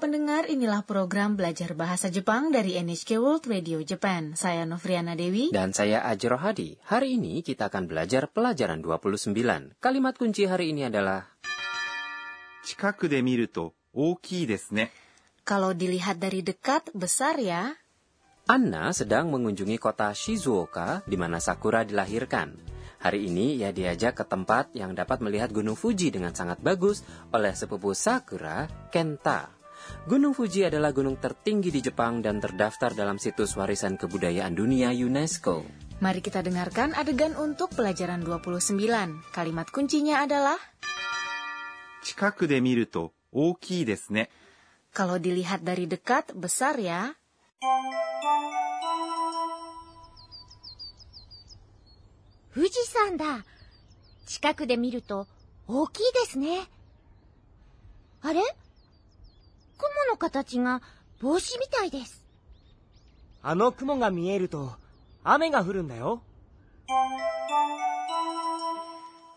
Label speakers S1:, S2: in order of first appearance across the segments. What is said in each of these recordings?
S1: pendengar, inilah program belajar bahasa Jepang dari NHK World Radio Japan. Saya Novriana Dewi.
S2: Dan saya Ajro Hadi. Hari ini kita akan belajar pelajaran 29. Kalimat kunci hari ini adalah
S3: 近くで見ると大きいですね。
S1: Kalau dilihat dari dekat, besar ya.
S2: Anna sedang mengunjungi kota Shizuoka di mana Sakura dilahirkan. Hari ini ia diajak ke tempat yang dapat melihat Gunung Fuji dengan sangat bagus oleh sepupu Sakura, Kenta. Gunung Fuji adalah gunung tertinggi di Jepang dan terdaftar dalam situs warisan kebudayaan dunia UNESCO.
S1: Mari kita dengarkan adegan untuk pelajaran 29. Kalimat kuncinya adalah,
S3: 近くで見ると大きいですね。
S1: kalau dilihat dari dekat, besar ya.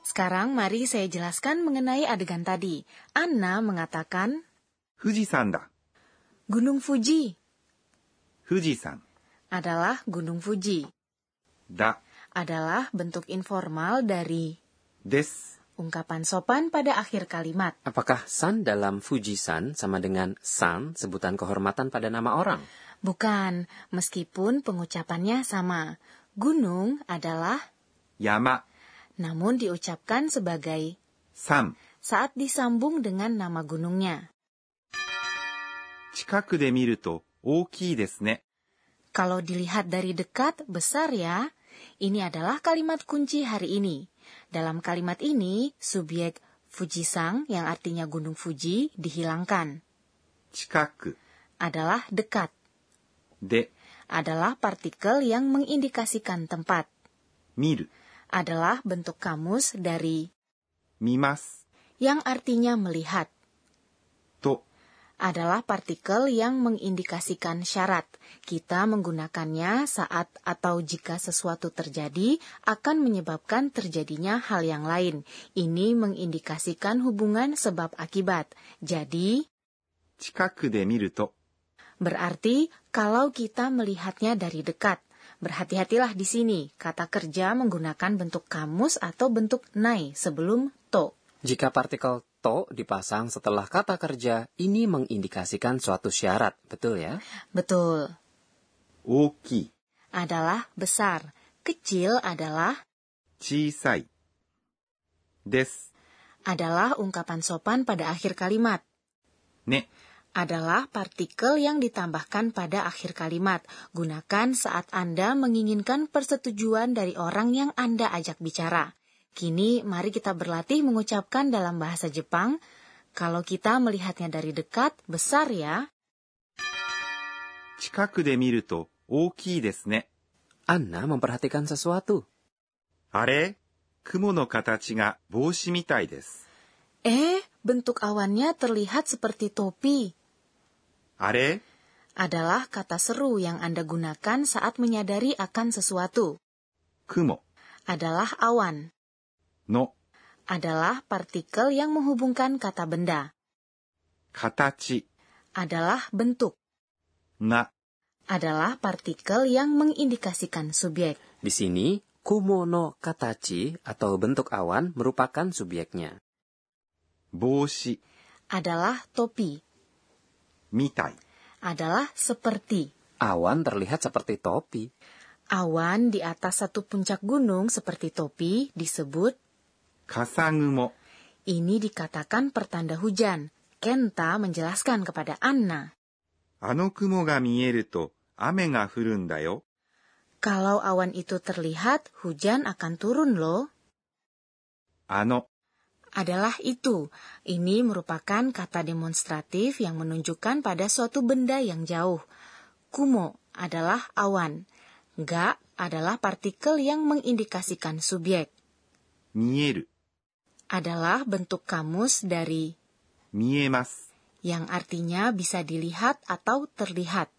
S1: Sekarang mari saya jelaskan mengenai adegan tadi. Anna mengatakan,
S3: 富士山だ。
S1: Gunung Fuji
S3: 富士山
S1: adalah Gunung Fuji.
S3: だ
S1: Adalah bentuk informal dari
S3: です。
S1: ungkapan sopan pada akhir kalimat.
S2: Apakah san dalam Fuji-san sama dengan san sebutan kehormatan pada nama orang?
S1: Bukan, meskipun pengucapannya sama. Gunung adalah
S3: 山
S1: namun diucapkan sebagai
S3: 山。
S1: saat disambung dengan nama gunungnya.
S3: 近くで見ると大きいですね。
S1: Kalau dilihat dari dekat, besar ya. Ini adalah kalimat kunci hari ini. Dalam kalimat ini, subjek Fujisang yang artinya Gunung Fuji dihilangkan.
S3: 近く
S1: Adalah dekat.
S3: で
S1: Adalah partikel yang mengindikasikan tempat.
S3: 見る、
S1: Adalah bentuk kamus dari
S3: 見ます、
S1: yang artinya melihat.
S3: と
S1: Adalah partikel yang mengindikasikan syarat. Kita menggunakannya saat atau jika sesuatu terjadi akan menyebabkan terjadinya hal yang lain. Ini mengindikasikan hubungan sebab akibat. Jadi,
S3: 近くで見ると
S1: Berarti kalau kita melihatnya dari dekat. Berhati-hatilah di sini, kata kerja menggunakan bentuk kamus atau bentuk nai sebelum to.
S2: Jika partikel to dipasang setelah kata kerja, ini mengindikasikan suatu syarat, betul ya?
S1: Betul,
S3: 大きい、
S1: adalah besar. Kecil adalah
S3: 小さい。です、
S1: adalah ungkapan sopan pada akhir kalimat.
S3: ね。
S1: Adalah partikel yang ditambahkan pada akhir kalimat. Gunakan saat Anda menginginkan persetujuan dari orang yang Anda ajak bicara. Kini, mari kita berlatih mengucapkan dalam bahasa Jepang. Kalau kita melihatnya dari dekat, besar ya.
S3: 近くで見ると大きいですね。
S2: Anna memperhatikan sesuatu.
S3: あれ雲の形が帽子みたいです。
S1: Eh, bentuk awannya terlihat seperti topi.
S3: あれ
S1: Adalah kata seru yang Anda gunakan saat menyadari akan sesuatu.
S3: 雲
S1: Adalah awan.
S3: の
S1: Adalah partikel yang menghubungkan kata benda.
S3: 形
S1: Adalah bentuk.
S3: が
S1: Adalah partikel yang mengindikasikan subjek.
S2: Di sini, kumono katachi atau bentuk awan merupakan subjeknya.
S3: 帽子
S1: Adalah topi.
S3: みたい。
S1: Adalah seperti.
S2: Awan terlihat seperti topi.
S1: Awan di atas satu puncak gunung seperti topi disebut
S3: 笠雲
S1: ini dikatakan pertanda hujan. Kenta menjelaskan kepada Anna.
S3: あの雲が見えると雨が降るんだよ。
S1: Kalau awan itu terlihat, hujan akan turun loh.
S3: あの
S1: Adalah itu. Ini merupakan kata demonstratif yang menunjukkan pada suatu benda yang jauh. Kumo adalah awan. Ga adalah partikel yang mengindikasikan subjek.
S3: 見える、
S1: Adalah bentuk kamus dari
S3: 見えます。
S1: yang artinya bisa dilihat atau terlihat.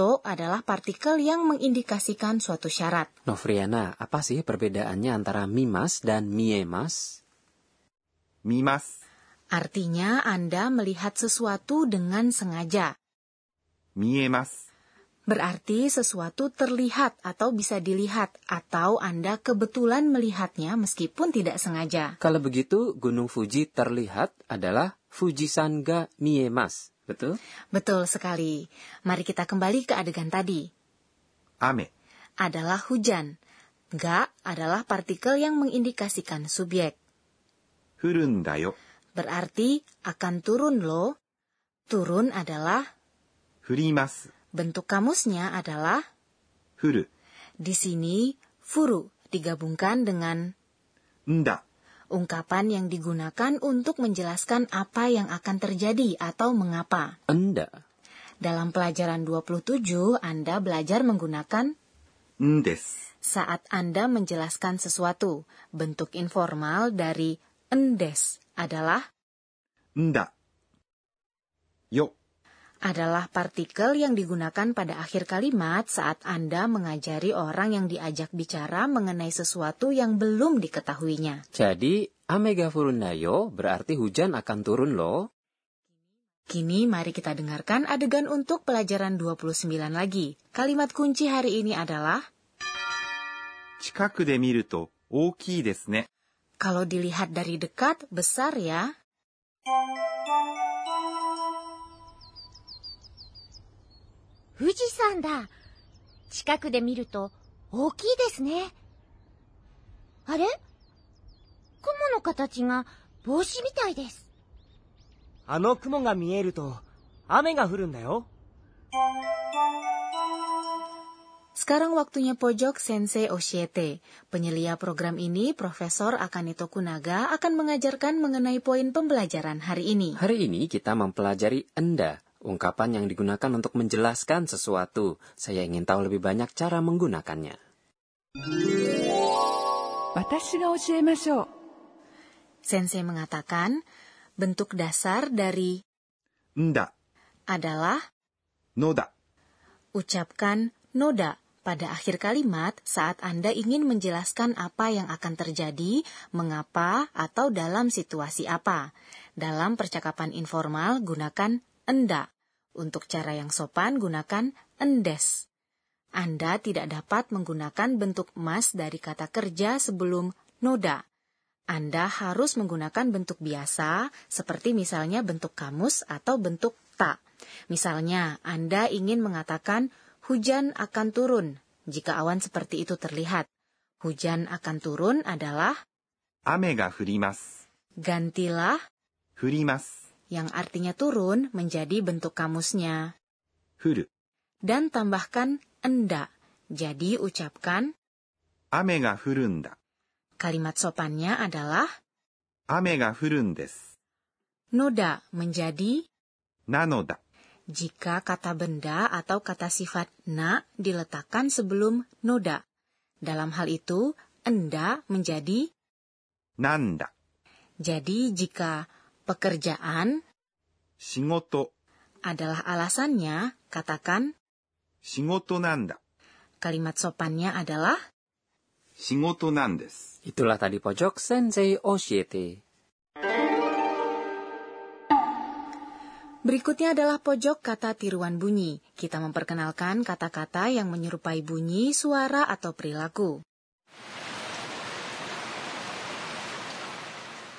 S1: To adalah partikel yang mengindikasikan suatu syarat.
S2: Novriana, apa sih perbedaannya antara mimas dan miemas?
S3: 見ます。
S1: Artinya Anda melihat sesuatu dengan sengaja.
S3: 見えます。
S1: Berarti sesuatu terlihat atau bisa dilihat atau Anda kebetulan melihatnya meskipun tidak sengaja.
S2: Kalau begitu, Gunung Fuji terlihat adalah Fujisan ga Miemas. Betul?
S1: Betul sekali. Mari kita kembali ke adegan tadi.
S3: 雨、
S1: Adalah hujan. Ga adalah partikel yang mengindikasikan subjek.
S3: 降るんだよ。
S1: Berarti akan turun loh. Turun adalah
S3: 降ります。
S1: bentuk kamusnya adalah
S3: 降る、
S1: di sini furu digabungkan dengan
S3: んだ、
S1: ungkapan yang digunakan untuk menjelaskan apa yang akan terjadi atau mengapa.
S2: Anda.
S1: Dalam pelajaran 27, Anda belajar menggunakan
S3: んです。
S1: saat Anda menjelaskan sesuatu. Bentuk informal dari endes adalah
S3: んだ。よ、
S1: adalah partikel yang digunakan pada akhir kalimat saat Anda mengajari orang yang diajak bicara mengenai sesuatu yang belum diketahuinya.
S2: Jadi, Amega Furundayo berarti hujan akan turun loh.
S1: Kini mari kita dengarkan adegan untuk pelajaran 29 lagi. Kalimat kunci hari ini adalah
S3: 近くで見ると大きいですね。
S1: kalau dilihat dari dekat besar ya. Sekarang waktunya pojok Sensei Oshiete. Penyelia program ini, Profesor Akane Tokunaga akan mengajarkan mengenai poin pembelajaran hari ini.
S2: Hari ini kita mempelajari Anda, ungkapan yang digunakan untuk menjelaskan sesuatu. Saya ingin tahu lebih banyak cara menggunakannya.
S4: 私が教えましょう
S1: Sensei mengatakan, bentuk dasar dari
S3: んだ、
S1: adalah
S3: のだ、
S1: ucapkan noda pada akhir kalimat saat Anda ingin menjelaskan apa yang akan terjadi, mengapa, atau dalam situasi apa. Dalam percakapan informal, gunakan enda. Untuk cara yang sopan, gunakan endes. Anda tidak dapat menggunakan bentuk mas dari kata kerja sebelum noda. Anda harus menggunakan bentuk biasa, seperti misalnya bentuk kamus atau bentuk ta. Misalnya, Anda ingin mengatakan hujan akan turun jika awan seperti itu terlihat. Hujan akan turun adalah
S3: 雨が降ります。
S1: gantilah
S3: 降ります。
S1: yang artinya turun menjadi bentuk kamusnya
S3: 降る。
S1: dan tambahkan enda. Jadi ucapkan
S3: 雨が降るんだ。
S1: kalimat sopannya adalah
S3: 雨が降るんです。
S1: noda menjadi
S3: なのだ。
S1: jika kata benda atau kata sifat na diletakkan sebelum noda. Dalam hal itu, enda menjadi
S3: なんだ。
S1: Jadi jika pekerjaan
S3: 仕事、
S1: adalah alasannya, katakan
S3: 仕事なんだ。
S1: kalimat sopannya adalah
S3: 仕事なんです。
S2: Itulah tadi pojok Sensei Oshiete.
S1: Berikutnya adalah pojok kata tiruan bunyi. Kita memperkenalkan kata-kata yang menyerupai bunyi, suara, atau perilaku.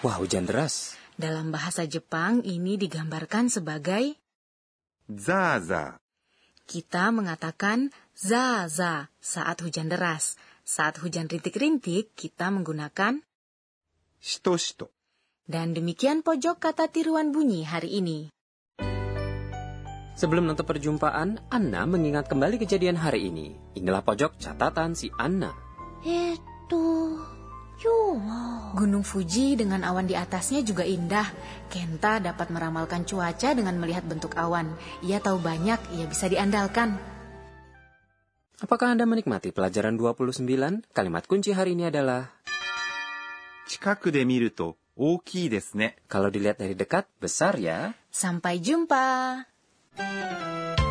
S2: Wah, hujan deras.
S1: Dalam bahasa Jepang, ini digambarkan sebagai
S3: ザーザ
S1: kita mengatakan za-za saat hujan deras. Saat hujan rintik-rintik, kita menggunakan
S3: ー、しとしと。
S1: dan demikian pojok kata tiruan bunyi hari ini.
S2: Sebelum menutup perjumpaan, Anna mengingat kembali kejadian hari ini. Inilah pojok catatan si Anna.
S5: えーっと、今日は、
S1: Gunung Fuji dengan awan di atasnya juga indah. Kenta dapat meramalkan cuaca dengan melihat bentuk awan. Ia tahu banyak, ia bisa diandalkan.
S2: Apakah Anda menikmati pelajaran 29? Kalimat kunci hari ini adalah,
S3: 近くで見ると大きいですね。
S2: kalau dilihat dari dekat, besar ya.
S1: Sampai jumpa.